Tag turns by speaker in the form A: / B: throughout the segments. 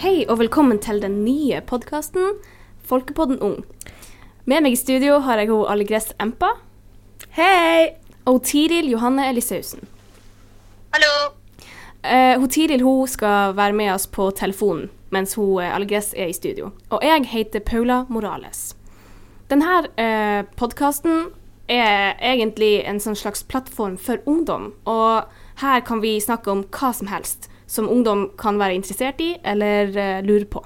A: Hei og velkommen til den nye podkasten Folkepodden Ung. Med meg i studio har jeg ho Algress Empa
B: Hei!
A: og Tiril Johanne Elisausen.
C: Hallo.
A: Eh, ho Tiril ho skal være med oss på telefonen mens ho eh, Algress er i studio. Og jeg heter Paula Morales. Denne eh, podkasten er egentlig en sånn slags plattform for ungdom. Og her kan vi snakke om hva som helst som ungdom kan være interessert i eller eh, lure på.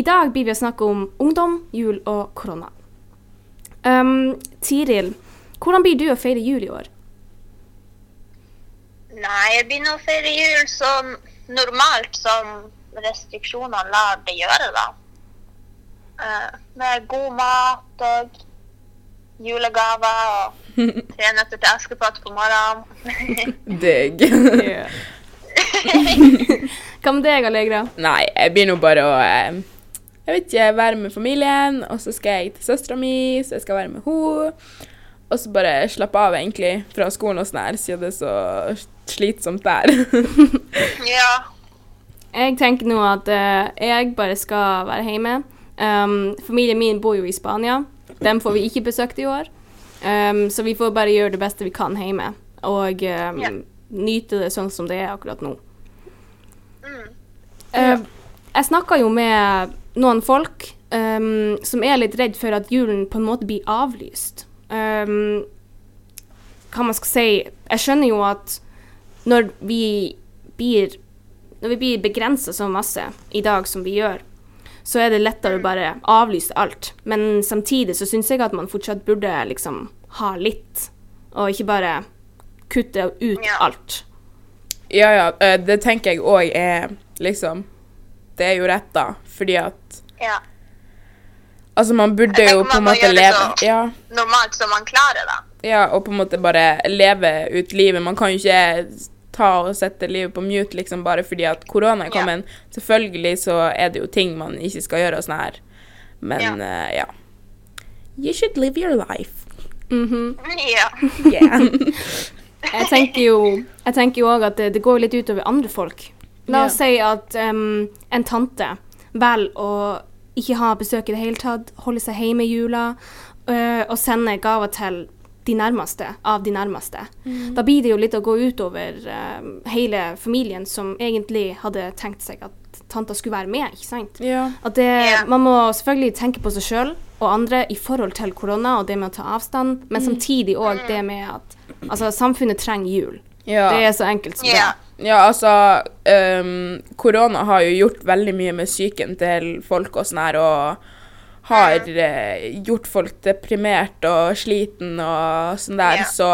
A: I dag blir vi å snakke om ungdom, jul og korona. Um, Tiril, hvordan blir du å feire jul i år?
C: Nei, jeg begynner å feire jul som normalt som restriksjonene lar det gjøre, da. Eh, Med god mat og julegaver og tre nøtter til Askepott på morgenen.
B: Digg.
A: Hva med deg, Allegra?
B: Nei, jeg begynner jo bare å eh, Jeg vet ikke, være med familien, og så skal jeg til søstera mi, så jeg skal være med henne. Og så bare slappe av, egentlig, fra skolen og sånn her, siden det er så slitsomt der.
C: ja.
A: Jeg tenker nå at eh, jeg bare skal være hjemme. Um, familien min bor jo i Spania. Dem får vi ikke besøkt i år. Um, så vi får bare gjøre det beste vi kan hjemme. Og um,
C: Ja.
A: nyte det sånn som det er akkurat nå.
C: Mm.
A: Eh, jeg snakka jo med noen folk um, som er litt redd for at julen på en måte blir avlyst. Um, hva man skal si Jeg skjønner jo at når vi blir Når vi blir begrensa så masse i dag som vi gjør, så er det lettere å bare avlyse alt. Men samtidig så syns jeg at man fortsatt burde liksom ha litt, og ikke bare kutte ut
C: Ja.
A: alt.
B: Ja, ja. eh, Det tenker jeg òg er liksom Det er jo rett, da. Fordi at
C: ja.
B: Altså, man burde
C: Jeg
B: jo
C: tenker
B: på en
C: man må
B: måte
C: gjøre det
B: leve
C: så-
B: ja,
C: Normalt som man klarer, da.
B: ja, og på en måte bare leve ut livet. Man kan jo ikke ta og sette livet på mute liksom bare fordi at korona er
C: Ja.
B: kommet. Selvfølgelig så er det jo ting man ikke skal gjøre og sånn her. Men
C: Ja.
B: eh, ja. You should live your life.
A: Mhm.
C: Ja.
B: Yeah.
A: Jeg tenker jo Jeg tenker jo òg at det, det går litt utover andre folk. La
B: Ja.
A: oss si at em, en tante velger å ikke ha besøk i det hele tatt, holde seg hjemme i jula øh, og sende gaver til de nærmeste av de nærmeste. Da blir det jo litt å gå utover em, hele familien som egentlig hadde tenkt seg at tanta skulle være med, ikke sant?
B: ja.
A: At det,
C: Ja.
A: Man må selvfølgelig tenke på seg sjøl og andre i forhold til korona og det med å ta avstand,
C: Mm.
A: men samtidig òg det med at altså, samfunnet trenger jul.
B: ja.
A: Det er så enkelt som
C: Ja.
B: Ja, altså ehm, Korona har jo gjort veldig mye med psyken til folk og sånn her, og har eh, gjort folk deprimert og sliten og sånn der,
C: Ja.
B: så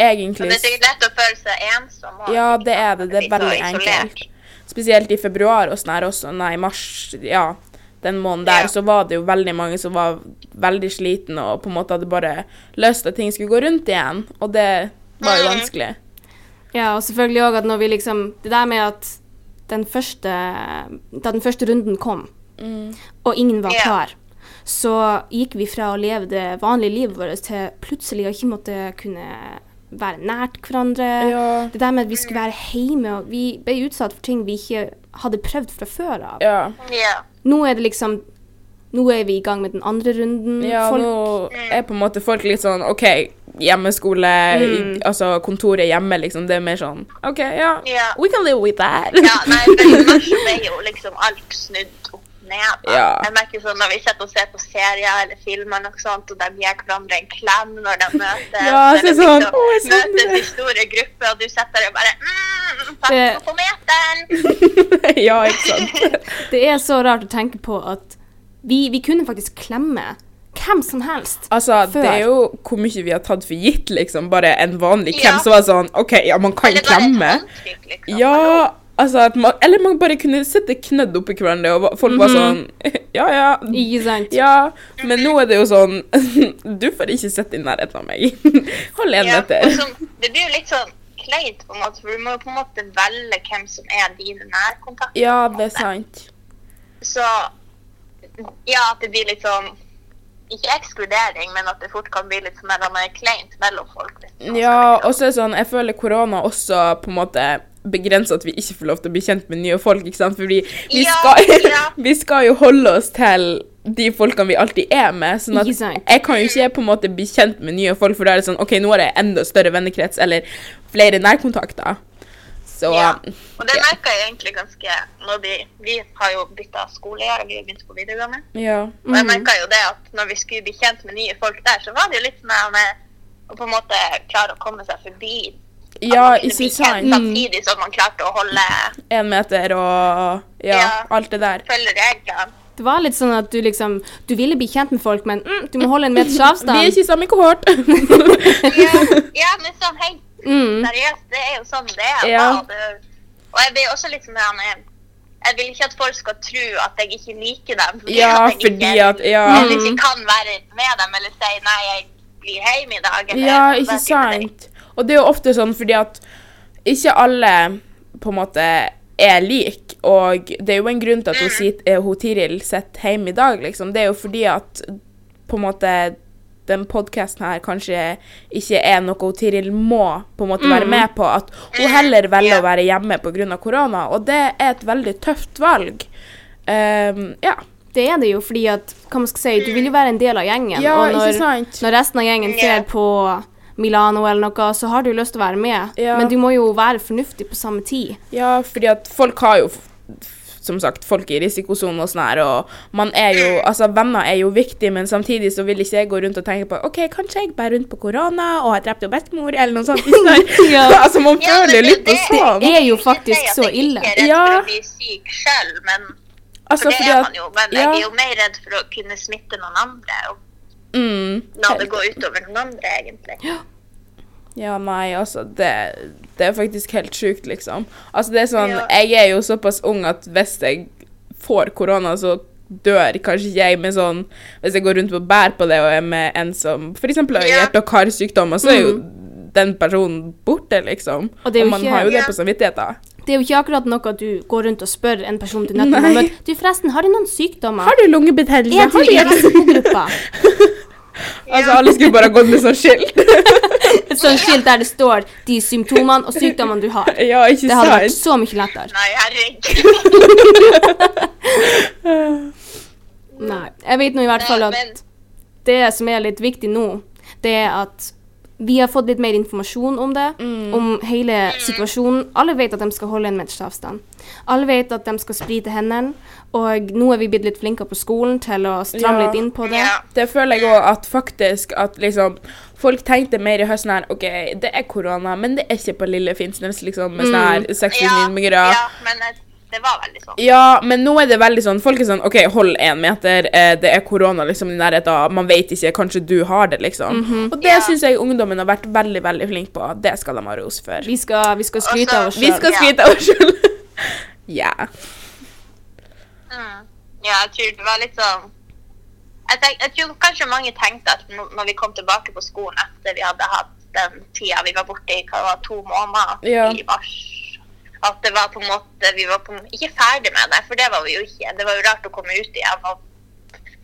C: Så
B: egentlig
C: det er sikkert lett å føle seg ensom. også,
B: Ja,
C: ikke
B: det
C: sant?
B: er det. Det er
C: Man blir så
B: veldig
C: isolert.
B: enkelt. Spesielt i februar og sånn her også, nei, mars, ja, den måneden der,
C: Ja.
B: så var det jo veldig mange som var veldig slitne og på en måte hadde bare lyst til at ting skulle gå rundt igjen, og det var jo
C: Mhm.
B: vanskelig.
A: Ja, og selvfølgelig òg at når vi liksom Det der med at den første Da den første runden kom, og ingen var
C: Mm. Ja.
A: klar, så gikk vi fra å leve det vanlige livet vårt til plutselig å ikke måtte kunne være nært hverandre.
B: Ja.
A: Det der med at vi skulle være hjemme, og vi ble utsatt for ting vi ikke hadde prøvd fra før av.
B: Ja.
C: Ja.
A: Nå er det liksom Nå er vi i gang med den andre runden.
B: Ja,
A: Folk-
B: nå er på en måte folk litt sånn OK, hjemmeskole, i- altså kontoret hjemme, liksom. Det er mer sånn OK, ja,
C: Ja.
B: we can live with that.
C: Ja, nei, for i mars ble jo liksom alt snudd opp ned. Da.
B: Ja.
C: Jeg merker sånn når vi sitter og ser på serier eller filmer, noe sånt, og de gir hverandre en klem når de møtes.
B: Ja,
C: Når
B: så
C: de
B: sånn,
C: liksom
B: «Å, jeg savner
C: Møtes
B: det».
C: i store grupper, og du sitter der og bare mm, Pass
A: Det-
C: på meteren!
B: ja, ikke sant?
A: Det er så rart å tenke på at vi, vi kunne faktisk klemme hvem som helst.
B: Altså, det
A: Før.
B: er jo hvor mye vi har tatt for gitt, liksom. Bare en vanlig
C: Ja.
B: klem som var sånn OK, ja, man kan
C: Eller bare
B: klemme.
C: et håndtrykk, liksom. Hallo.
B: Ja, altså at man Eller man bare kunne sette knødd oppi hverandre, og folk
C: Mhm.
B: var sånn Ja, ja.
A: Ikke sant?
B: Ja, men nå er det jo sånn Du får ikke sitte i nærheten av meg. Hold en
C: Ja,
B: meter.
C: og sånn, det blir jo litt sånn kleint, på en måte, for du må jo på en måte velge hvem som er dine nærkontakter.
B: Ja,
C: på en
B: det
C: måte.
B: er sant.
C: Så ja, at det blir litt sånn Ikke ekskludering, men at det fort kan bli litt sånn der, eh, kleint mellom folk. Liksom.
B: Ja, og så er det sånn, jeg føler korona også på en måte begrense at vi ikke får lov til å bli kjent med nye folk, ikke sant? Fordi vi
C: Ja,
B: skal,
C: ja.
B: vi skal jo holde oss til de folkene vi alltid er med, sånn at
A: Ikke sant?
B: jeg kan jo ikke på en måte bli kjent med nye folk, for da er det sånn, ok, nå har jeg enda større vennekrets, eller flere nærkontakter. Så,
C: Ja. Og det
B: ja.
C: merka jeg egentlig ganske når vi, vi har jo bytta skole i år, og vi har begynt på videregående.
B: ja.
C: Og jeg merka jo det at når vi skulle bli kjent med nye folk der, så var det jo litt mer med å på en måte klare å komme seg forbi. At
B: Ja,
C: man kunne
B: ikke
C: bli kjent
B: sant?
C: Samtidig som man klarte å holde
B: En meter og ja,
C: Ja.
B: alt det der.
C: følge reglene.
A: Det var litt sånn at du liksom Du ville bli kjent med folk, men mm, du må holde en meters avstand.
B: Vi er ikke i samme kohort.
C: Ja, ja, men sånn helt
A: Mm.
C: seriøst, det er jo sånn det er.
B: Ja.
C: da. Det- Og jeg blir også litt sånn her med- Jeg vil ikke at folk skal tro at jeg ikke liker dem. fordi
B: ja,
C: at jeg
B: fordi
C: ikke,
B: at Ja, Mm.
C: Eller ikke kan være med dem, eller si nei, jeg blir hjemme i dag. Eller,
B: ja
C: sånn
B: ikke
C: der type ting.
B: sant. Og det er jo ofte sånn fordi at ikke alle på en måte er lik, og det er jo en grunn til at hun, sit, eh, hun Tiril sitter hjemme i dag, liksom. Det er jo fordi at på en måte den podkasten her kanskje ikke er noe hun Tiril må på en måte være med på. At hun heller velger
C: Ja.
B: å være hjemme pga. korona, og det er et veldig tøft valg. Um, ja.
A: Det er det jo fordi at Hva man skal si, du vil jo være en del av gjengen.
B: Ja,
A: og når,
B: ikke sant?
A: når resten av gjengen
C: Ja.
A: ser på Milano eller noe, så har du jo lyst til å være med,
B: Ja.
A: men du må jo være fornuftig på samme tid.
B: Ja, fordi at folk har jo f- f- som sagt, folk i risikosonen og sånn her, og man er jo, altså venner er jo viktig, men samtidig så vil ikke jeg gå rundt og tenke på, ok, kanskje jeg bærer rundt på korona, og har drept jo bestemor, eller noe sånt. ikke sant?
A: Ja.
B: altså, man
C: Ja, men
B: føler jo
C: det-
B: litt på sånn.
C: det-
B: skam.
A: Det er jo
C: Jeg vil ikke
A: faktisk
C: si at
A: så
C: jeg
A: ille.
C: Ikke er redd
B: Ja.
C: for å bli syk selv, men for
B: Altså,
C: det
B: fordi
C: er
B: at,
C: man jo. Men
B: ja,
C: jeg er jo mer redd for å kunne smitte noen andre, og
B: mm,
C: la det gå utover noen andre, egentlig.
B: Ja, nei, altså, det, det er faktisk helt sjukt, liksom. Altså, det er sånn,
C: Ja.
B: jeg er jo såpass ung at hvis jeg får korona, så dør kanskje ikke jeg med sånn, hvis jeg går rundt og bærer på det, og er med en som for eksempel har
C: Ja. Mm.
B: hjerte- og karsykdommer, så er jo den personen borte, liksom.
A: Og
B: Og,
A: det er jo
B: man
A: ikke-
B: har jo det
C: Ja.
B: på samvittigheten.
A: Det er jo ikke akkurat noe du går rundt og spør en person du nettopp har
B: Nei.
A: møtt. Du, forresten, har du noen sykdommer?
B: Har du lungebetennelse?
A: Er du
B: Har du
A: i
B: hjerte-
A: risikogruppa?
B: Altså, alle skulle bare gått med sånn skilt.
A: Et sånt skilt der det står de symptomene og sykdommene du har.
B: ja, ikke
A: Det hadde vært så
B: sant?
A: mye lettere.
C: Nei, herregud.
A: Nei. Jeg vet nå i hvert fall
C: Nei,
A: at
C: men-
A: det som er litt viktig nå, det er at vi har fått litt mer informasjon om det, om hele situasjonen. Alle vet at de skal holde en meters avstand. Alle vet at de skal sprite hendene, og nå er vi blitt litt flinkere på skolen til å stramme
B: Ja.
A: litt inn på det.
C: Ja.
B: Det føler jeg òg at faktisk at liksom Folk tenkte mer i høsten her OK, det er korona, men det er ikke på Lille Finnsnes, liksom, med sånne her 600
C: Mm. Ja,
B: innbyggere.
C: ja, men jeg- det var veldig sånn.
B: Ja, men nå er det veldig sånn Folk er sånn OK, hold én meter. Eh, det er korona liksom i nærheten. av, Man vet ikke. Kanskje du har det, liksom. Og det
C: Mhm. Ja.
B: synes syns jeg ungdommen har vært veldig veldig flink på. Det skal de ha ros for.
A: Vi skal, vi skal skryte
C: Altså,
A: av oss
B: Vi skal
A: sjøl.
C: Ja.
B: skryte av oss sjøl. Ja.
C: Mm. Ja, jeg tror det var litt sånn jeg, tenk, jeg tror kanskje mange tenkte at nå- når vi kom tilbake på skolen etter vi hadde hatt den tida vi var borte i hva det var, to måneder
B: Ja.
C: i mars, at det var på en måte Vi var på, en- ikke ferdig med det, for det var vi jo ikke. Det var jo rart å komme ut igjen. Og,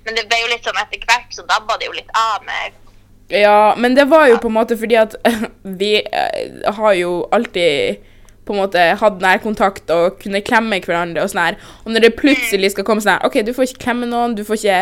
C: men det ble jo litt sånn etter hvert så dabba det jo litt av med
B: Ja, men det var jo på en måte fordi at vi eh, har jo alltid på en måte hatt nærkontakt og kunne klemme hverandre og sånn her. Og når det plutselig skal komme sånn her OK, du får ikke klemme noen, du får ikke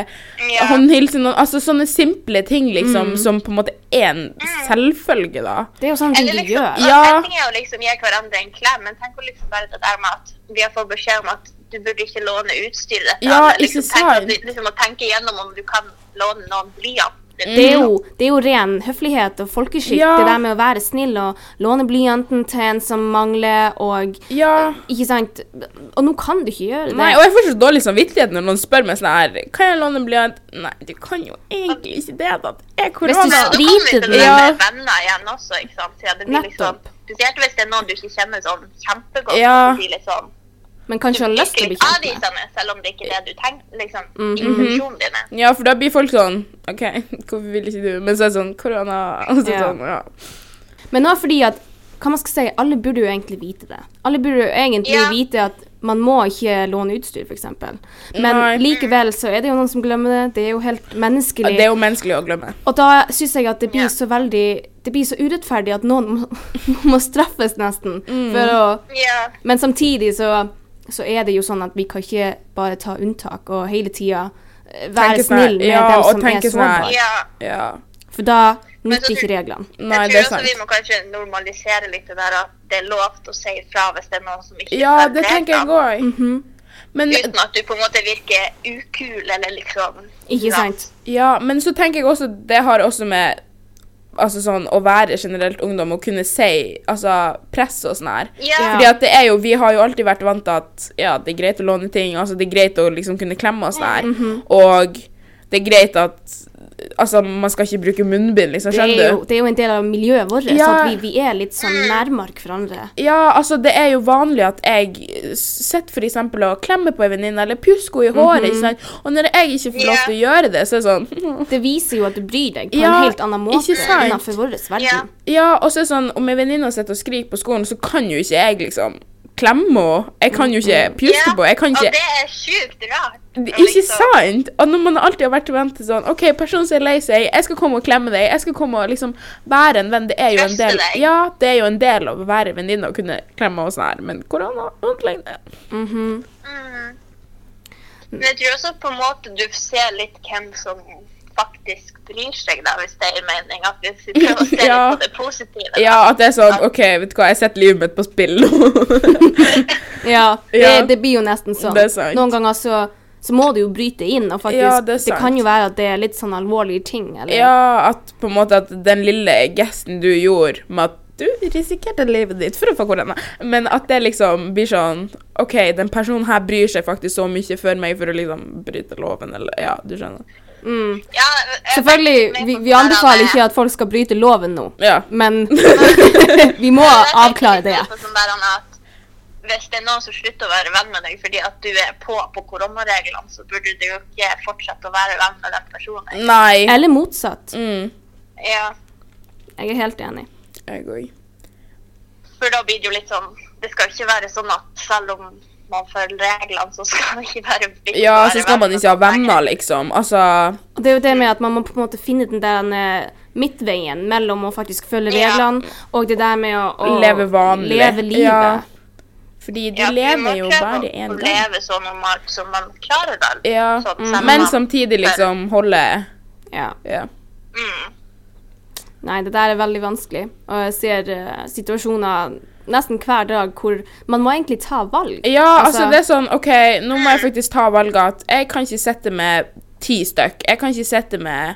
C: Ja.
B: håndhilse noen Altså sånne simple ting, liksom, som på en måte er en selvfølge, da.
A: Det er jo sånne ting
C: Eller
A: du
C: liksom,
A: gjør.
B: Ja.
C: En ting er å liksom gi hverandre en klem, men tenk å liksom bare det der med at vi har fått beskjed om at du burde ikke låne utstyr. Dette.
B: Ja,
C: Eller liksom,
B: ikke
C: tenk at
B: sant?
C: du- Liksom å tenke gjennom om du kan låne noen blyant.
A: Det er, jo, det er jo ren høflighet og folkeskikk,
B: Mm. Ja.
A: det der med å være snill og låne blyanten til en som mangler, og
B: Ja.
A: Ikke sant? Og nå kan du ikke gjøre det.
B: Nei, og jeg får så dårlig samvittighet når noen spør meg sånn her Kan jeg låne en blyant? Nei, du kan jo egentlig ikke det, da. Det er
A: du
B: korona.
A: spør-
C: Sprite
A: spriter
C: det
A: den.
C: der
B: Ja.
C: med venner igjen også, ikke sant. Ja, det blir liksom,
A: Nettopp.
C: spesielt hvis det er noen du ikke kjenner sånn kjempegodt.
B: Ja.
C: så blir det sånn-
A: Men kanskje har lyst til å bli
C: litt
A: kjent med.
C: avvisende, selv om det ikke er det du tenker. Liksom,
B: Mhm.
C: intensjonen din er.
B: Ja, for da blir folk sånn OK, hvorfor vil ikke du? Men så er det sånn korona og så
A: Ja.
B: sånn, ja.
A: Men nå fordi at hva man skal si, alle burde jo egentlig vite det. Alle burde jo egentlig
C: Ja.
A: vite at man må ikke låne utstyr, f.eks. Men
B: Nei.
A: likevel så er det jo noen som glemmer det. Det er jo helt
B: Ja,
A: menneskelig.
B: Det er jo menneskelig å glemme.
A: Og da syns jeg at det blir
C: Ja.
A: så veldig Det blir så urettferdig at noen må, må straffes, nesten.
B: Mm.
A: For å
C: Ja.
A: Men samtidig så, så er det jo sånn at vi kan ikke bare ta unntak og hele tida eh, være
B: Tenke sånn her-
A: snill med
B: ja, og
A: dem som
B: tenke
A: er
B: sånn her-
A: sårbare.
C: ja.
B: Ja.
A: For da
C: Men så
A: nytter ikke
C: tror-
A: reglene.
B: Nei,
C: jeg
B: det
C: tror
B: er
C: også
B: sant.
C: vi må kanskje normalisere litt det der at det er lov til å si ifra hvis det er noen som ikke
B: Ja,
C: følger
B: det tenker jeg
C: reglene,
B: òg. Men,
C: Uten at du på en måte virker ukul eller liksom
A: Ikke
C: ja.
A: sant?
B: ja, men så tenker jeg også det har også med altså sånn, å være generelt ungdom og kunne si altså, press og sånn her.
C: Ja.
B: Fordi at det er jo, Vi har jo alltid vært vant til at ja, det er greit å låne ting, altså det er greit å liksom kunne klemme oss der. Og det er greit at altså, man skal ikke bruke munnbind, liksom.
A: Det
B: Skjønner
A: er, jo,
B: du?
A: det er jo en del av miljøet vårt, så
B: Ja.
A: at vi, vi er litt sånn
C: Mm.
A: nærmark hverandre.
B: Ja, altså det er jo vanlig at jeg sitter for eksempel og klemmer på en venninne, eller pjusker henne i håret,
C: Mhm.
B: ikke sant. Og når jeg ikke får lov til å gjøre det, så er det sånn
A: Det viser jo at du bryr deg på
B: Ja,
A: en helt annen måte
B: ikke sant?
A: innenfor vår verden.
C: Ja.
B: Ja, og så er det sånn, om en venninne sitter og skriker på skolen, så kan jo ikke jeg liksom klemme henne. Jeg kan jo ikke pjuske på henne. Jeg kan
C: Mhm. Og
B: ikke
C: det er sjukt rart. liksom,
B: Det- Ikke sant? Og når man alltid har vært vant til sånn OK, personen som er lei seg, jeg skal komme og klemme deg, jeg skal komme og liksom være en venn. Det er jo en
C: Trøste
B: del
C: deg.
B: Ja, det er jo en del av å være venninne og kunne klemme og sånn her, men korona ødelegger det.
A: Mhm.
C: Mm. Men jeg tror også på en måte du ser litt hvem som faktisk bryr seg, da, hvis det er mening. At hvis vi prøver å se
B: Ja.
C: litt på det positive. da.
B: Ja, at det er sånn OK, vet du hva, jeg setter livet mitt på spill nå.
A: Ja, det,
B: Ja.
A: det blir jo nesten sånn.
B: Det er sant.
A: Noen ganger så, så må du jo bryte inn, og faktisk
B: Ja, det er
A: det,
B: sant.
A: kan jo være at det er litt sånn alvorlige ting. Eller?
B: Ja, at på en måte at den lille gesten du gjorde med at du risikerte livet ditt for å få korona, men at det liksom blir sånn OK, den personen her bryr seg faktisk så mye for meg for å liksom bryte loven, eller Ja, du skjønner.
A: Mm.
C: Ja, jeg- jeg-
A: Selvfølgelig, vi, vi anbefaler ikke at folk skal bryte loven nå,
B: Ja.
A: men vi må
C: Jeg tenker
A: avklare
C: litt
A: det.
C: på Sånn der, Anna, at hvis det er noen som slutter å være venn med deg fordi at du er på på koronareglene, så burde du jo ikke fortsette å være venn med den personen.
B: Nei.
A: Eller motsatt.
B: Mm.
C: Ja,
A: Jeg er helt enig.
B: Jeg òg.
C: for da blir det jo litt sånn Det skal jo ikke være sånn at selv om man følger reglene, så skal man ikke være bitt
B: Ja,
C: og være
B: så skal man
C: venn med
B: ikke ha
C: noen lenger.
B: venner, liksom. Altså
A: Og det er jo det med at man må på en måte finne den der eh, midtveien mellom å faktisk følge
C: Ja.
A: reglene og det der med å, å
B: Leve vanlig.
A: leve livet.
B: Ja. Fordi du
C: Ja, for vi må
B: lever jo
C: prøve
B: bare
C: å
B: én gang.
C: leve så normalt som man klarer det.
B: Ja. mm.
C: Sånn, selv om
B: Men
C: man-
B: samtidig liksom holde
A: Ja.
B: Ja.
C: Mm.
A: Nei, det der er veldig vanskelig. Og jeg ser eh, situasjoner nesten hver dag hvor man må egentlig ta valg.
B: Ja, altså,
A: Altså-
B: det er sånn, ok, nå må jeg faktisk ta valget at jeg kan ikke sette med ti stykk. Jeg kan ikke sette med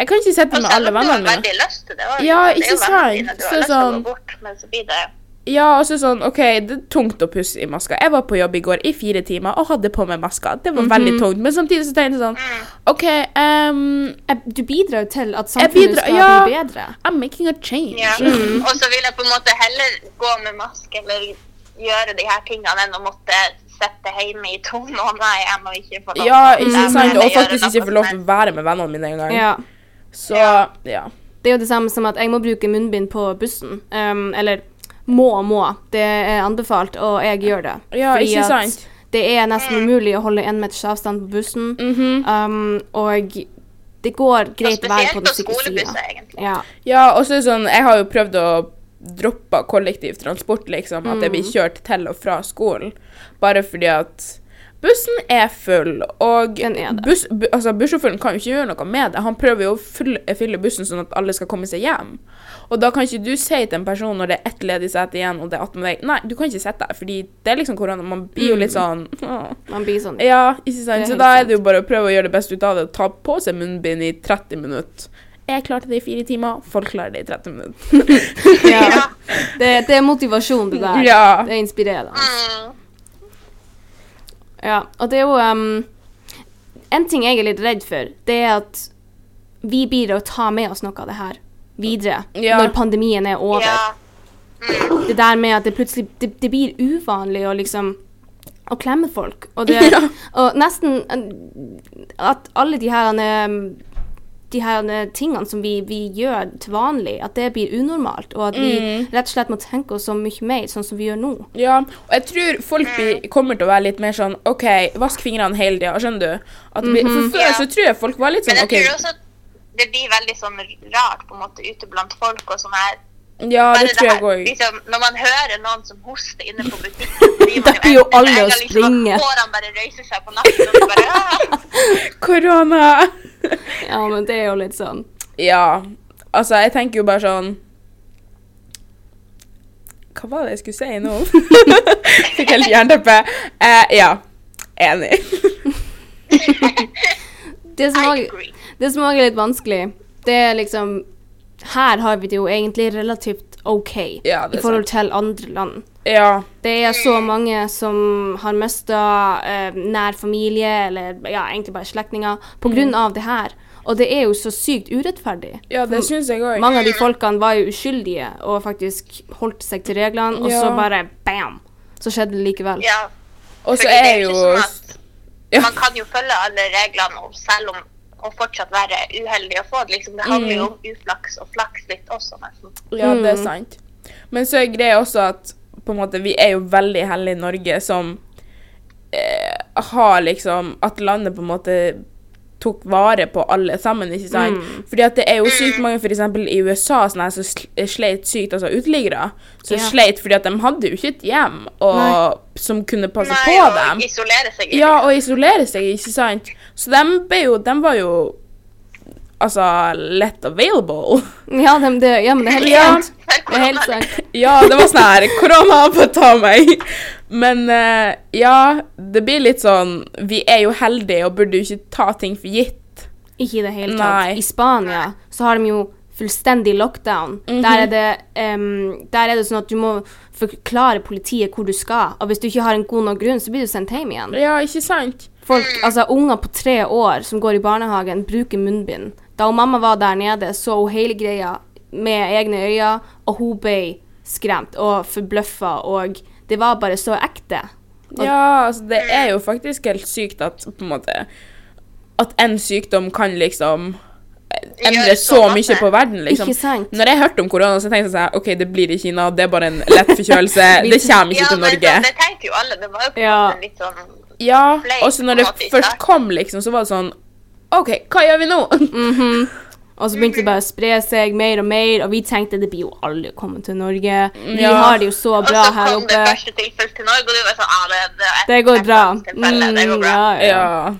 B: Jeg kan ikke sette
C: Og
B: med
C: selv
B: alle
C: om du har
B: vennene mine.
C: veldig lyst til det også,
B: Ja,
C: det er jo
B: ikke
C: vennene dine,
B: sant?
C: Du har
B: Så
C: lyst til å
B: sånn-
C: gå bort, men så blir det
B: Ja, og så sånn, ok, det er tungt å pusse i maska. Jeg var på jobb i går i fire timer og hadde på meg maska. Det var veldig tungt, men samtidig så tenkte jeg sånn, ok, um,
A: Jeg- Du bidrar jo til at
B: Jeg
A: samfunnet
B: bidrar-
A: skal
B: ja.
A: bli bedre.
B: I'm making a change.
C: Ja.
B: Mm.
C: Og så vil jeg på en måte heller gå med maske eller gjøre de her tingene enn å måtte sitte hjemme i to måneder igjen og ikke få lov
B: Ja,
C: til å være
B: ikke sant,
C: med
B: og
C: eller gjøre
B: faktisk
C: noe
B: ikke få lov til
C: som
B: å være med vennene mine engang.
A: Ja.
B: Så, ja.
A: Det er jo det samme som at jeg må bruke munnbind på bussen. Ehm, eller må og må. Det er anbefalt, og jeg gjør det.
B: Ja, ikke
A: at
B: sant?
A: det er nesten umulig å holde én meters avstand på bussen.
B: Mhm.
A: Ehm, og det går greit
C: helst. Og
A: vær på
C: Spesielt
A: den
C: på
A: sikre
C: skolebusser,
A: sida.
C: egentlig.
A: Ja.
B: Ja, og så er det sånn, jeg har jo prøvd å droppe kollektivtransport, liksom. At jeg blir
A: Mm.
B: kjørt til og fra skolen. Bare fordi at bussen er full, og
A: Den er det.
B: buss, bu, altså, bussjåføren kan jo ikke gjøre noe med det. Han prøver jo å fylle, fylle bussen sånn at alle skal komme seg hjem. Og da kan ikke du si til en person når det er ett ledig sete igjen, og det er 18 vei, nei, du kan ikke sitte der, fordi det er liksom korona. Man blir jo
A: Mm.
B: litt sånn «Åh».
A: Man blir sånn.
B: Ja, ikke
A: Det
B: sant?
A: er
B: Så
A: helt
B: da er
A: sant.
B: det jo bare å prøve å gjøre det beste ut av det. og Ta på seg munnbind i 30 minutter. Jeg klarte det i fire timer, folk klarer det i 30 minutter.
A: Ja. Det, det er motivasjon, det der.
B: Ja.
A: Det er inspirerende.
C: Mm.
A: Ja, og det er jo ehm, En ting jeg er litt redd for, det er at vi blir å ta med oss noe av det her videre
B: Ja.
A: når pandemien er over.
C: Ja.
A: Det der med at det plutselig det, det blir uvanlig å liksom å klemme folk. Og, det,
B: Ja.
A: og nesten eh, at alle de her eh, de her eh, tingene som vi, vi gjør til vanlig, at det blir unormalt, og at vi rett og slett må tenke oss så mye mer, sånn som vi gjør nå.
B: Ja, og jeg tror folk blir, kommer til å være litt mer sånn OK, vask fingrene hele tida, skjønner du? At det blir, for før
C: Ja.
B: så tror jeg folk var litt
C: Men
B: sånn
C: jeg
B: OK,
C: tror også at det blir veldig sånn rart på en måte ute blant folk og sånn her.
B: ja,
C: Bare
B: det tror jeg
C: her,
B: går
C: liksom, når man hører noen som hoster inne på butikken, så blir man
A: Da blir jo
C: enten-
A: alle
C: eller
A: å springe.
C: Hårene bare røyser seg på nakken, og så bare «Ah!»
B: Korona!
A: Ja, men det er jo litt sånn.
B: ja. Altså, jeg tenker jo bare sånn Hva var det jeg skulle si nå? Fikk helt jernteppe. Eh, ja. Enig.
A: Det som
C: I
A: også-
C: agree.
A: Det som òg er litt vanskelig, det er liksom Her har vi det jo egentlig relativt OK
B: Ja, det er
A: i forhold til andre land.
B: ja.
A: Det er så
B: Mm.
A: mange som har mista eh, nær familie, eller ja, egentlig bare slektninger,
B: Mm.
A: pga. av det her. Og det er jo så sykt urettferdig.
B: ja, det syns jeg òg.
A: Mange av de folkene var jo uskyldige og faktisk holdt seg til reglene, og
B: Ja.
A: så bare bam! Så skjedde det likevel.
C: «Ah!» Ja,
B: Og så
C: fordi det
B: er
C: er
B: jo
C: ikke sånn at
B: Ja.
C: Man kan jo følge alle reglene og selv om og fortsatt være uheldig å få det. Liksom, det handler jo om
A: Mm.
C: uflaks og flaks litt også, nesten.
B: Ja, det er sant. Men så er greia også at på en måte, vi er jo veldig heldige i Norge som eh, har liksom At landet på en måte tok vare på alle sammen, ikke sant?
A: Mm.
B: Fordi at det er jo
C: Mm.
B: sykt mange, for eksempel i USA, sånn her, som sl- sleit sykt, altså uteliggere, som
A: Ja.
B: sleit fordi at de hadde jo ikke et hjem og,
A: Nei.
B: som kunne
A: Altså,
B: passe
C: Nei,
B: på
C: og
B: dem.
C: isolere seg.
B: Ja, og isolere seg, ikke sant? Så de, ble jo, de var jo altså lett available.
A: Ja, dem- det, ja men det er helt
B: Ja.
A: sant.
C: For
A: Det er helt
C: korona.
A: sant.
B: Ja, det var sånn her Korona på ta meg. Men eh, ja, det blir litt sånn Vi er jo heldige og burde jo ikke ta ting for gitt.
A: Ikke i det hele tatt.
B: Nei.
A: I Spania så har de jo fullstendig lockdown. der,
B: Mhm.
A: er det, em, der er det sånn at du må forklare politiet hvor du skal, og hvis du ikke har en god nok grunn, så blir du sendt hjem igjen.
B: Ja, ikke sant?
A: Folk,
C: Mm.
A: altså Unger på tre år som går i barnehagen, bruker munnbind. Da hun mamma var der nede, så hun hele greia med egne øyne, og hun ble skremt og forbløffa, og det var bare så ekte.
B: Ja, altså det er jo faktisk helt sykt at på en måte At en sykdom kan liksom endre
C: Gjøre
B: så
C: så
B: mye
C: masse.
B: på verden, liksom.
A: Ikke sant?
B: Når jeg hørte om korona, så tenkte jeg sånn OK, det blir i Kina, det er bare en lett forkjølelse. Det kommer ikke
C: Ja,
B: til
C: men
B: Norge.
C: sånn, det tenkte jo alle. Det var jo på en
A: Ja.
C: måte litt sånn
B: Ja,
C: fløy,
B: og så når
C: på en
B: det
C: måte, i
B: først
C: starten.
B: kom, liksom, så var det sånn OK, hva gjør vi nå?
A: Og så begynte det bare å spre seg mer og mer, og vi tenkte det blir jo alle kommet til Norge. Vi
B: Ja.
A: har det jo så bra
C: Og så
A: her
C: kom det
A: oppe.
C: første tilfellet til Norge, og du var sånn ah, det, det, er et-
A: Det går
C: et
A: bra.
C: tilfelle, det går
A: Mm,
C: bra.
A: ja, ja.
B: Ja.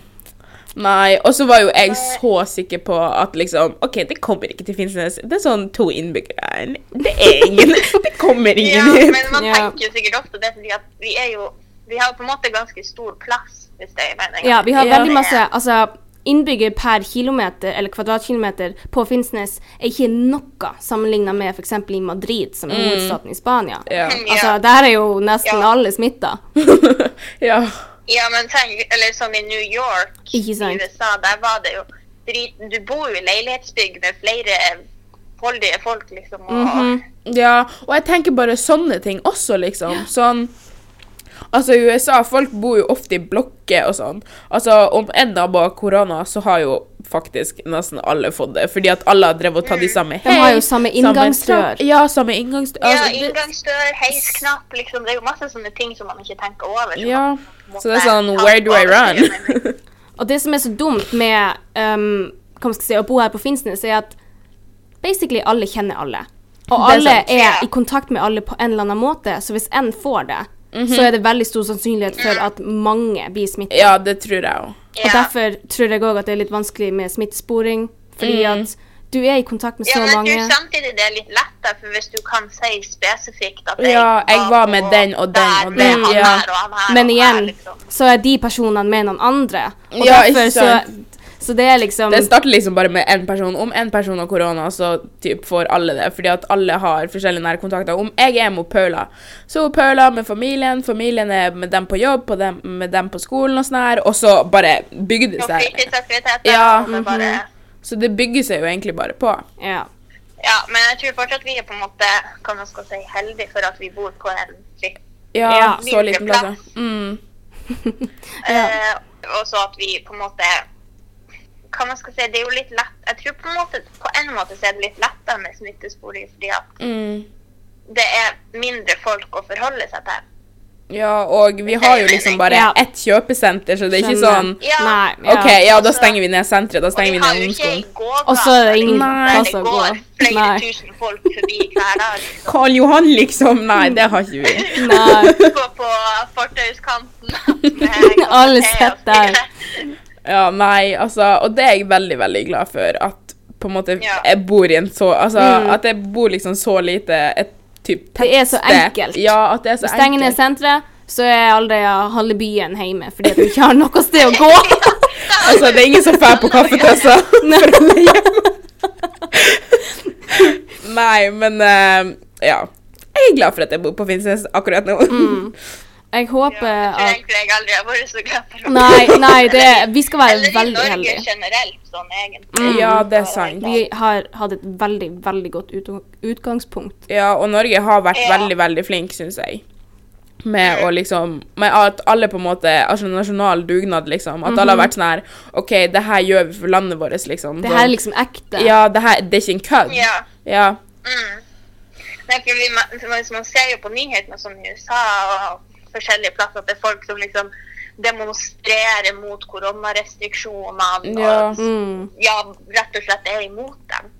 B: Nei, og så var jo jeg så sikker på at liksom OK, det kommer ikke til Finnsnes. Det er sånn to innbyggere. Det er ingen Det kommer
C: Ja,
B: ingen hit.
C: men man
A: Ja.
C: tenker jo sikkert ofte det fordi at vi er jo Vi har på en måte ganske stor plass, hvis det er meningen.
A: ja, vi har
B: Ja.
A: veldig masse Altså, innbygger per kilometer, eller kvadratkilometer, på Finnsnes er ikke noe sammenlignet med f.eks. i Madrid, som er hovedstaden i Spania.
B: Mm. Ja.
A: Altså, der er jo nesten
C: Ja.
A: alle smitta.
B: ja.
C: Ja, men tenk, eller sånn i New York,
A: Ikke sant.
C: i USA, der var det jo drit, Du bor jo i leilighetsbygg med flere foldige folk, liksom, og
B: Mhm. ja. Og jeg tenker bare sånne ting også, liksom. Sånn Altså, i USA, folk bor jo ofte i blokker og sånn. Altså, om en dag var korona, så har jo faktisk nesten alle fått det. Fordi at alle har drevet og tatt de samme
A: De har jo
B: hei,
A: samme
B: samme
A: inngangsdør.
B: trapp- Ja, samme inngangsdør.
C: Mm. Ja,
B: Altså, det-
C: inngangsdør, heisknapp, liksom. Det er jo masse sånne ting som man ikke tenker over. som
B: Ja.
C: man på en
B: Så det er
C: måte
B: sånn
C: tar
B: Where do I
C: over
B: run?
C: seg, men-
A: Og det som er så dumt med ehm, hva skal jeg si, å bo her på Finnsnes, er at basically alle kjenner alle. Og
B: Det er
A: alle
B: sant.
A: er,
C: Ja.
A: i kontakt med alle på en eller annen måte, så hvis én får det,
B: Mhm.
A: så er det veldig stor sannsynlighet for at mange blir smittet.
B: Ja, det tror jeg òg.
A: Og
C: Ja.
A: derfor tror jeg òg at det er litt vanskelig med smittesporing, fordi at du er i kontakt med
C: Mm. Ja,
A: så
C: men jeg
A: mange.
C: tror samtidig det er litt lettere, for hvis du kan si spesifikt at
B: Ja, jeg var med den og den
C: der
B: og
C: med
B: den,
C: han
B: ja.
C: her og han her
A: Men
C: og her,
A: igjen,
C: liksom.
A: så er de personene med noen andre. Og
B: Ja,
A: derfor
B: ikke
A: så
B: sant.
A: Så det er liksom
B: Det starter liksom bare med én person. Om én person har korona, så typ får alle det. Fordi at alle har forskjellige nærkontakter. Om jeg er med Paula, så er Paula med familien, familien er med dem på jobb, på dem, med dem på skolen og sånn her, og så bare bygger det
C: Og
B: seg.
C: fritidsaktiviteter.
B: Ja,
C: og
B: mhm.
C: det bare,
B: Så det bygger seg jo egentlig bare på.
A: Ja.
C: ja, men jeg tror fortsatt vi er på en måte hva man skal si, heldige for at vi bor på en fri
B: Ja,
A: Ja.
B: så liten plass. ja. Mm.
A: Ja.
C: eh, Og så at vi på en måte hva man skal si, det er jo litt lett Jeg tror på en måte, på en måte så er det litt lettere med smittesporing, fordi at
B: Mm.
C: det er mindre folk å forholde seg til.
B: Ja, og vi har jo liksom bare
A: Ja.
B: ett kjøpesenter, så det er ikke sånn
A: Skjønner.
C: Ja.
A: eh,
C: Altså,
A: Nei, ja.
B: OK, ja, da stenger vi ned senteret. Da
C: Og vi
B: stenger vi
C: har
B: ned
C: jo ikke
B: ungdomsskolen.
C: ei gågate
A: Og så er det ingen
C: der
A: plass å
C: det
A: gå.
C: går flere
A: Nei.
C: tusen folk forbi hver dag. liksom.
B: Karl Johan, liksom. Nei, det har ikke vi.
A: Nei.
C: Gå på fortauskanten med
A: Alle
C: kopp te og
A: sitter der.
C: spise.
B: Ja, nei, altså Og det er jeg veldig, veldig glad for. At på en måte
C: Ja.
B: jeg bor i en så Altså
A: Mm.
B: at jeg bor liksom så lite et typ
A: Det er så enkelt.
B: Ja, at det er så
A: Du stenger ned
B: enkelt.
A: senteret, så er aldri halve byen hjemme fordi at du ikke har noe sted å gå.
B: Altså, det er ingen som drar på kaffetøssa for å leie hjemme. Nei, men eh, ja. Jeg er glad for at jeg bor på Finnsnes akkurat nå.
A: Mm. Jeg
C: Ja,
A: håper
C: Jeg
A: at
C: tror egentlig jeg aldri har vært så glad for
A: Altså, Nei, nei, det, vi skal
C: Eller
A: være
C: i
A: veldig
C: Norge
A: heldige.
C: generelt, sånn egentlig.
A: Mm.
B: Ja, det er sant.
A: Vi har hatt et veldig, veldig godt utgang- utgangspunkt.
B: Ja, og Norge har vært
C: Ja.
B: veldig, veldig flink, syns jeg.
A: Mm.
B: Med å liksom Med at alle på en måte Altså nasjonal dugnad, liksom. At alle har vært sånn her OK, det her gjør vi for landet vårt, liksom.
A: Mhm. Det
B: Så-
A: her er liksom ekte.
B: Ja, det her Det er ikke en kødd.
C: Ja.
B: Ja.
C: Mm. Nei, for vi, man, man ser jo på nyhetene sånn i USA og forskjellige plasser at det er folk som liksom demonstrerer mot koronarestriksjonene
B: Ja.
C: og
A: Mm.
C: ja, rett og slett er imot dem.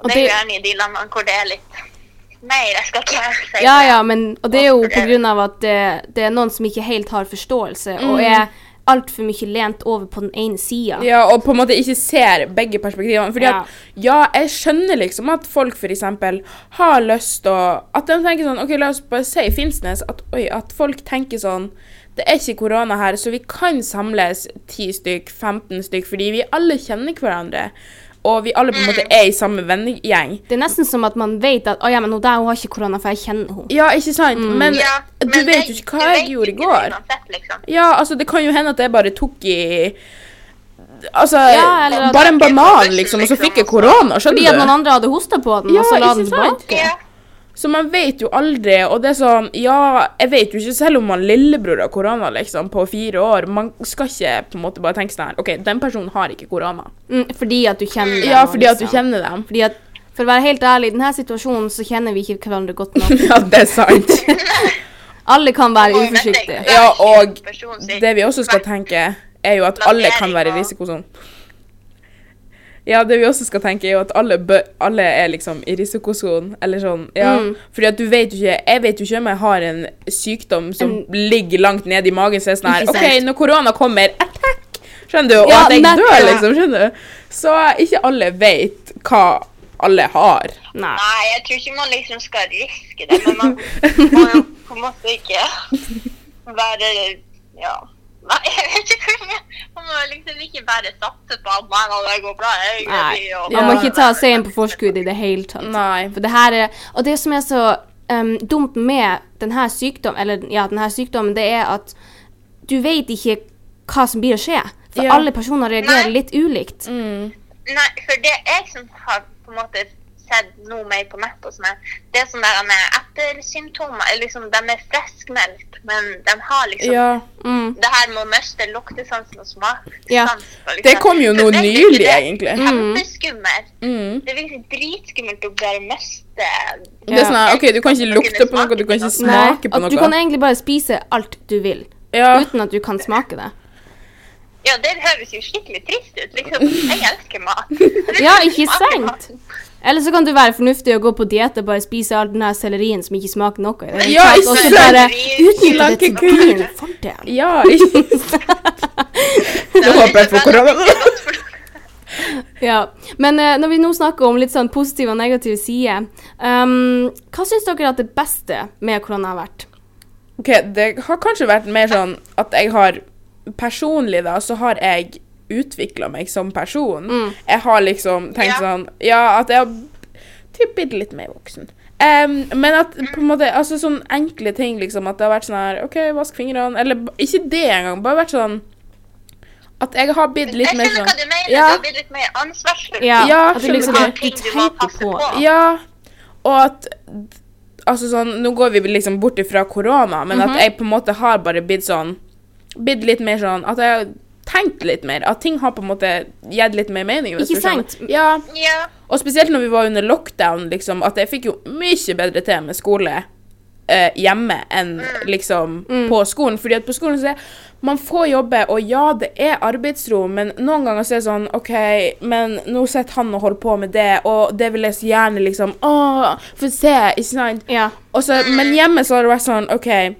C: Og
A: Og
C: det er jo
A: det-
C: gjerne i de landene hvor det er litt mer. Jeg skal ikke si
A: Ja,
C: det.
A: ja, men og det er jo
C: Hvorfor
A: på
C: det?
A: grunn av at det, det er noen som ikke helt har forståelse, og er altfor mye lent over på den ene sida.
B: Mm. Ja, og på en måte ikke ser begge perspektivene. Fordi
A: Ja.
B: at ja, jeg skjønner liksom at folk f.eks. har lyst til å At de tenker sånn OK, la oss bare si i Finnsnes at, oi, at folk tenker sånn Det er ikke korona her, så vi kan samles 10 stykk, 15 stykk, fordi vi alle kjenner hverandre. Og vi alle på en måte er i samme vennegjeng.
A: Det er nesten som at man vet at 'Å ja, men hun der hun har ikke korona, for jeg kjenner henne'.
B: Ja, ikke sant?
A: Mm.
B: Men,
C: Ja,
B: du
C: men det-
B: vet jo
C: du
B: ikke hva
C: vet
B: jeg gjorde
C: ikke
B: i
C: det
B: går.
C: Uansett, liksom.
B: Ja, altså, det kan jo hende at jeg bare tok i Altså,
A: Ja, eller at-
B: bare en banan, liksom, og så fikk jeg korona, skjønner
A: Fordi
B: du?
A: at noen andre hadde hosta på den,
B: Ja,
A: og så la
B: ikke
A: den
B: sant?
A: tilbake.
C: Ja.
B: Så man vet jo aldri, og det er sånn Ja, jeg vet jo ikke selv om man lillebror har korona, liksom, på fire år. Man skal ikke på en måte bare tenke sånn her OK, den personen har ikke korona.
A: Mm, fordi at du kjenner
B: Ja,
A: dem,
B: fordi at du
A: liksom.
B: kjenner dem.
A: Fordi at, For å være helt ærlig, i denne situasjonen så kjenner vi ikke hverandre godt nok.
B: ja, det er sant.
A: Alle kan være
C: Og dette er
A: uforsiktige.
C: ikke
B: Ja, og
C: en person som-
B: det vi også skal tenke, er jo at alle kan være i risikosonen. Ja, det vi også skal tenke, er jo at alle, bø alle er liksom i risikosonen, eller sånn. Ja.
A: Mm.
B: Fordi at du vet jo ikke Jeg vet jo ikke om jeg har en sykdom som
A: En-
B: ligger langt nede i magen, så jeg er sånn her
A: Ikke
B: OK,
A: sant.
B: når korona kommer, attack! Skjønner du? Og
A: Ja,
B: at jeg dør,
A: nettopp.
B: liksom. Skjønner du? Så ikke alle vet hva alle har.
A: Nei.
C: Nei, jeg tror ikke man liksom skal riske det, men man må jo på en måte ikke være Ja. Nei, jeg vet ikke hvor jeg- Man må liksom ikke bare satse på at nei, nei, det går bra. Jeg, jeg,
A: Nei.
C: blir jo-
A: Man må ikke ta seien på forskudd i det hele tatt.
B: Nei.
A: For det her er, og det som er så em, dumt med denne sykdommen, eller, ja, denne sykdommen, det er at du vet ikke hva som blir å skje. For
B: Ja.
A: alle personer reagerer
C: Nei.
A: litt ulikt.
B: Mm.
C: Nei, for det jeg som har på en måte sett noe mer på nett og sånn, her, det er sånn der med ettersymptomer er liksom, De er friskmeldt, men de har liksom
B: Ja.
A: Mm.
C: det her med å miste luktesansen og smaksansen
A: Ja.
C: liksom.
B: Det kom jo nå
C: Så vet du
B: nylig,
C: det er
B: egentlig.
C: Kjempeskummelt.
B: Mm.
C: Det er virkelig dritskummelt å bare miste
B: Det er sånn her,
C: Ja.
B: OK, du kan ikke lukte på noe, du kan ikke smake på
A: at du kan
B: noe.
A: egentlig bare spise alt du vil,
B: Ja.
A: uten at du kan smake det.
C: Ja, det høres jo skikkelig trist ut. Liksom, jeg elsker mat. Jeg
A: Ja,
C: elsker
A: ikke
C: mat.
A: sant? Eller så kan du være fornuftig og gå på diett og bare spise all den her sellerien som ikke smaker noe. i det hele
B: Ja,
A: tatt,
B: ikke
A: og så
B: sant?
A: bare utnytte det
B: Slanke
A: til
B: kur.
A: din fordel.
B: Ja, ikke Nå håper jeg får korona.
A: Ja, Men eh, når vi nå snakker om litt sånn positive og negative sider, ehm, hva syns dere at det beste med korona har vært?
B: OK, det har kanskje vært mer sånn at jeg har Personlig, da, så har jeg utvikla meg som person. Jeg har liksom tenkt
C: Mm. Ja.
B: sånn Ja, at jeg har typ blitt litt mer voksen. Em, men at på en måte Altså sånn enkle ting, liksom. At det har vært sånn her OK, vask fingrene. Eller b- ikke det engang. Bare vært sånn At jeg har blitt
C: Jeg
B: litt mer
C: skjønner
B: sånn
C: hva du mener.
B: Ja.
C: Du har blitt litt mer ansvarsfull.
B: Ja,
A: at det liksom,
B: skjønner
A: du
C: du.
A: tenker på det.
B: Ja, og at Altså sånn, nå går vi liksom
A: Mhm.
B: bort ifra korona, men at jeg på en måte har bare blitt sånn Blitt litt mer sånn at jeg tenkt litt mer. At ting har på en måte gitt litt mer mening. hvis
A: Ikke
B: du skjønner.
A: sant?
B: Ja,
C: Ja.
B: og spesielt når vi var under lockdown, liksom, at jeg fikk jo mye bedre til med skole eh, hjemme enn liksom på skolen. Fordi at på skolen så er man får jobbe, og ja, det er arbeidsro, men noen ganger så er det sånn OK, men nå sitter han og holder på med det, og det vil jeg så gjerne liksom Å, få se, ikke sant?
A: Ja.
B: Og så, men hjemme så har det vært sånn OK.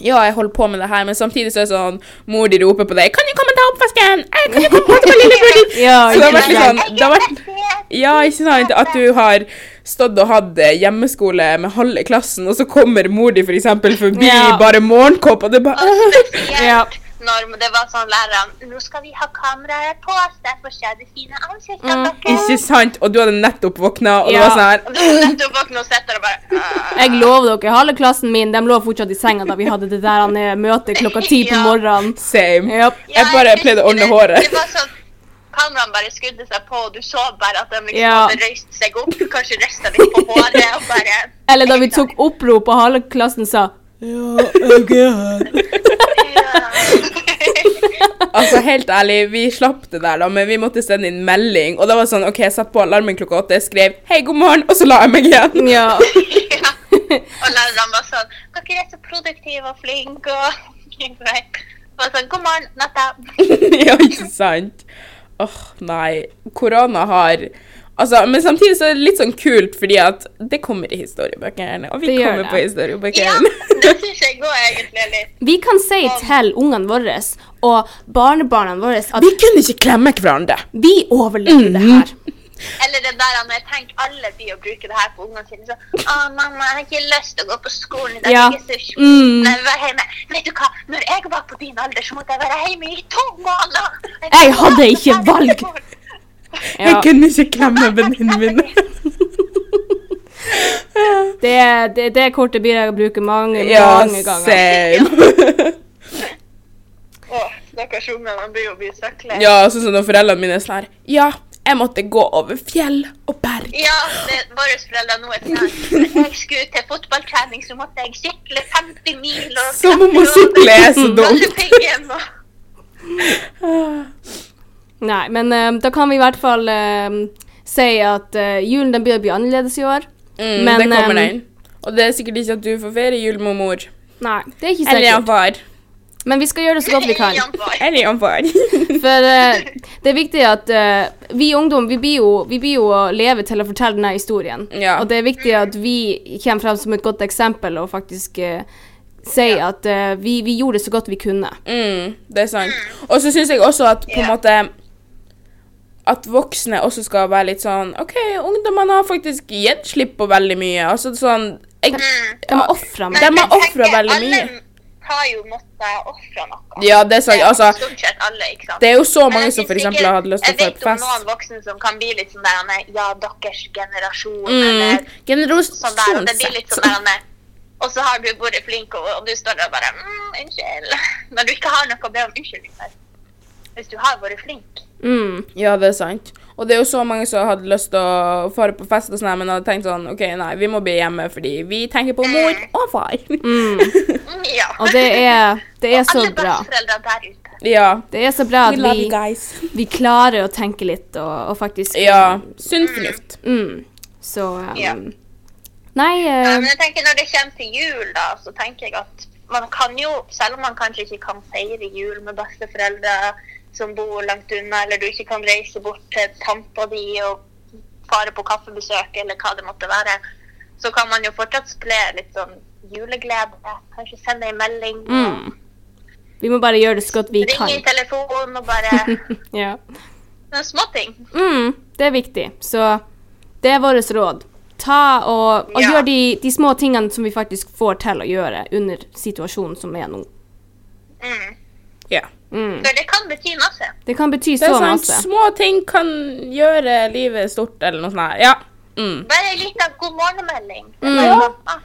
B: Ja, jeg holder på med det her, men samtidig så er det sånn Mor di roper på deg. 'Kan du komme og ta oppvasken?' Eh, 'Kan du komme og ta på lillebror din?'
A: Ja,
B: så det har
A: ikke
B: vært litt
A: sant.
B: sånn Det har vært ja, ikke sant? At du har stått og hatt eh, hjemmeskole med halve klassen, og så kommer mor di for eksempel forbi
A: Ja.
B: bare morgenkåp, og det bare
C: Og spesielt
A: Ja.
C: når det var sånn læreren Nå skal vi ha kameraet på oss, derfor ser du fine ansiktene
A: Mm.
C: deres.
B: Ikke sant? Og du hadde nettopp våkna, og det
A: Ja.
B: var sånn her
C: Og Du nettopp våkner og sitter og bare «Ah».
A: Jeg lover dere, halve klassen min de lå fortsatt i senga da vi hadde det der han, eh, møtet klokka ti på
C: Ja.
A: morgenen.
B: Same.
A: Japp.
C: Ja,
B: Jeg bare
C: husker
B: pleide å ordne
C: det.
B: håret.
C: Det var sånn Kameraene bare skudde seg på, og du så bare at de liksom
A: Ja.
C: hadde røyst seg opp. Kanskje røsta litt på håret. og bare...
A: Eller da vi tok opprop og halve klassen sa
C: Ja.
B: Altså, helt ærlig, vi slapp det der, da, men vi måtte sende inn melding. Og det var sånn, OK, jeg satte på alarmen klokka åtte, jeg skrev 'hei, god morgen', og så la jeg meg igjen.
A: ja.
C: Ja. Og lærerne var sånn Dere er så produktive og flinke og Og sånn God morgen, natta.
B: ja, ikke sant? Åh, nei. Korona har Altså, Men samtidig så er det litt sånn kult, fordi at det kommer i historiebøkene. Og vi
A: Det gjør
B: kommer
A: det.
B: på
C: Ja,
B: historiebøkene.
C: det syns jeg går egentlig litt.
A: Vi kan si til ungene våre og barnebarna våre at
B: vi kunne ikke klemme hverandre.
A: vi overlevde det her.
B: Mm-hmm.
C: Eller det der når jeg tenker alle blir å bruke det her på ungene sine. Så, å, mamma, jeg har ikke lyst til å gå på skolen i dag.
A: Ja.
C: Jeg er så sliten.
A: Mm.
C: Jeg vil være hjemme. Vet du hva, når jeg var på din alder, så måtte jeg være hjemme i to måneder.
A: Jeg hadde ikke valg.
B: Jeg
A: Ja.
B: kunne ikke klemme venninnen min.
A: Det, det, det kortet blir jeg å bruke mange,
B: ja,
A: mange ganger.
B: same.
C: Å, Stakkars unger, man blir jo bli søkkelig.
B: ja, sånn som når foreldrene mine er sånn her Ja, jeg måtte gå over fjell og berg.
C: Ja, det er våre foreldre nå er sånn Når jeg skulle til fotballtrening, så måtte jeg sykle 50 mil. og
B: Som om å
C: klatre over
B: sykle er så dumt.
C: kattepiggen og-
A: Nei, men eh, da kan vi i hvert fall eh, si at eh, julen den blir å bli annerledes i år.
B: Mm,
A: Men,
B: det kommer
A: ehm,
B: den. Og det er sikkert ikke at du får ferie jul med mor.
A: Nei, det er ikke
B: Eller
A: sikkert.
B: han far.
A: Men vi skal gjøre det så godt vi kan.
C: Jan Borg.
B: Eller han far.
A: For eh, det er viktig at eh, vi ungdom vi blir, jo, vi blir jo å leve til å fortelle denne historien.
B: Ja.
A: Og det er viktig at vi kommer frem som et godt eksempel og faktisk eh, sier at eh, vi, vi gjorde det så godt vi kunne.
B: Mm, det er sant. Og så syns jeg også at på en
C: Ja.
B: måte at voksne også skal være litt sånn OK, ungdommene har faktisk gitt slipp på veldig mye. Altså sånn jeg,
A: De har ofra
C: Men
A: meg.
B: Dem har
C: Mm. jeg
B: offret
C: tenker
B: veldig mye.
C: Alle har jo måttet offre noe.
B: Ja, det er sant. Altså,
C: Stort sett alle, ikke sant?
B: det er jo så
C: Men
B: mange
C: jeg
B: som
C: synes
B: f.eks.
C: ikke-
B: har hatt lyst til å få
C: Jeg
B: et
C: vet om noen
B: fest.
C: voksne som kan bli litt sånn der han er, Ja, deres generasjon,
B: Mm,
C: eller sånn der. og Det blir litt sånn der
B: generasjonssett.
C: han er Og så har du vært flink, og, og du står der og bare mm, Unnskyld. Når du ikke har noe å be om unnskyldning for. Hvis du har vært flink.
A: Mm.
B: Ja, det er sant. Og det er jo så mange som hadde lyst til å fare på fest, og sånn, her, men hadde tenkt sånn OK, nei, vi må bli hjemme fordi vi tenker på mor og far.
C: Mm, ja.
A: Og det er, det er så
C: alle
A: bra.
C: besteforeldre der ute.
B: ja.
A: Det er så bra
B: We
A: at
B: love you
A: vi,
B: guys.
A: vi klarer å tenke litt og, og faktisk
B: Ja. Sunn fornuft.
A: Mm. Så um,
C: Ja.
A: Nei,
C: Ja,
A: eh,
C: men jeg tenker Når det kommer til jul, da, så tenker jeg at man kan jo, selv om man kanskje ikke kan feire jul med besteforeldre som bor langt unna, eller du ikke kan reise bort til tanta di og fare på kaffebesøk, eller hva det måtte være, så kan man jo fortsatt spre litt sånn juleglede. Kanskje sende ei melding.
A: mm. vi må bare gjøre det så godt vi
C: Ringe i
A: kan.
C: telefonen og bare
A: Ja.
C: Noen småting.
A: Mm, det er viktig. Så det er vårt råd. Ta og, og
C: Ja.
A: gjør de, de små tingene som vi faktisk får til å gjøre under situasjonen som er nå.
C: Mm.
B: Ja.
A: Mm.
C: For det kan bety masse.
A: Det kan bety
B: Det
A: så
B: er sant.
A: masse.
B: Små ting kan gjøre livet stort, eller noe sånt. her. Ja. Mm.
C: Bare ei lita god morgen-melding.
A: Mm.
B: Ja.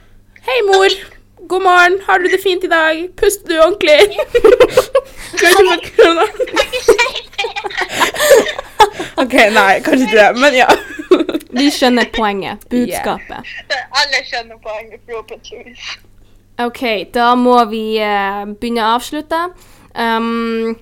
B: Hei, mor. God morgen. Har du det fint i dag? Puster du ordentlig? Skal ikke få korona.
C: Kan ikke si det!
B: OK, nei, kanskje ikke det, men ja.
A: Vi skjønner poenget. Budskapet.
C: Alle skjønner poenget fra Opentjus.
A: OK, da må vi eh, begynne å avslutte. Um,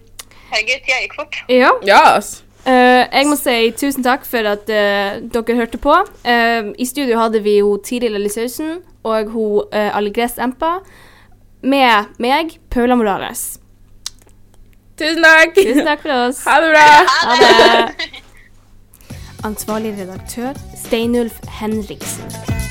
C: Herregud, tida gikk fort.
A: Ja.
B: Ja, ass.
A: Eh, jeg må si tusen takk for at eh, dere hørte på. Eh, I studio hadde vi hun Tiril Elisausen og hun uh, Algress Empa med meg, Paula Morales.
B: Tusen takk.
A: Tusen takk for oss.
B: Ha det bra.
A: Ha det. Ansvarlig redaktør Steinulf Henriksen.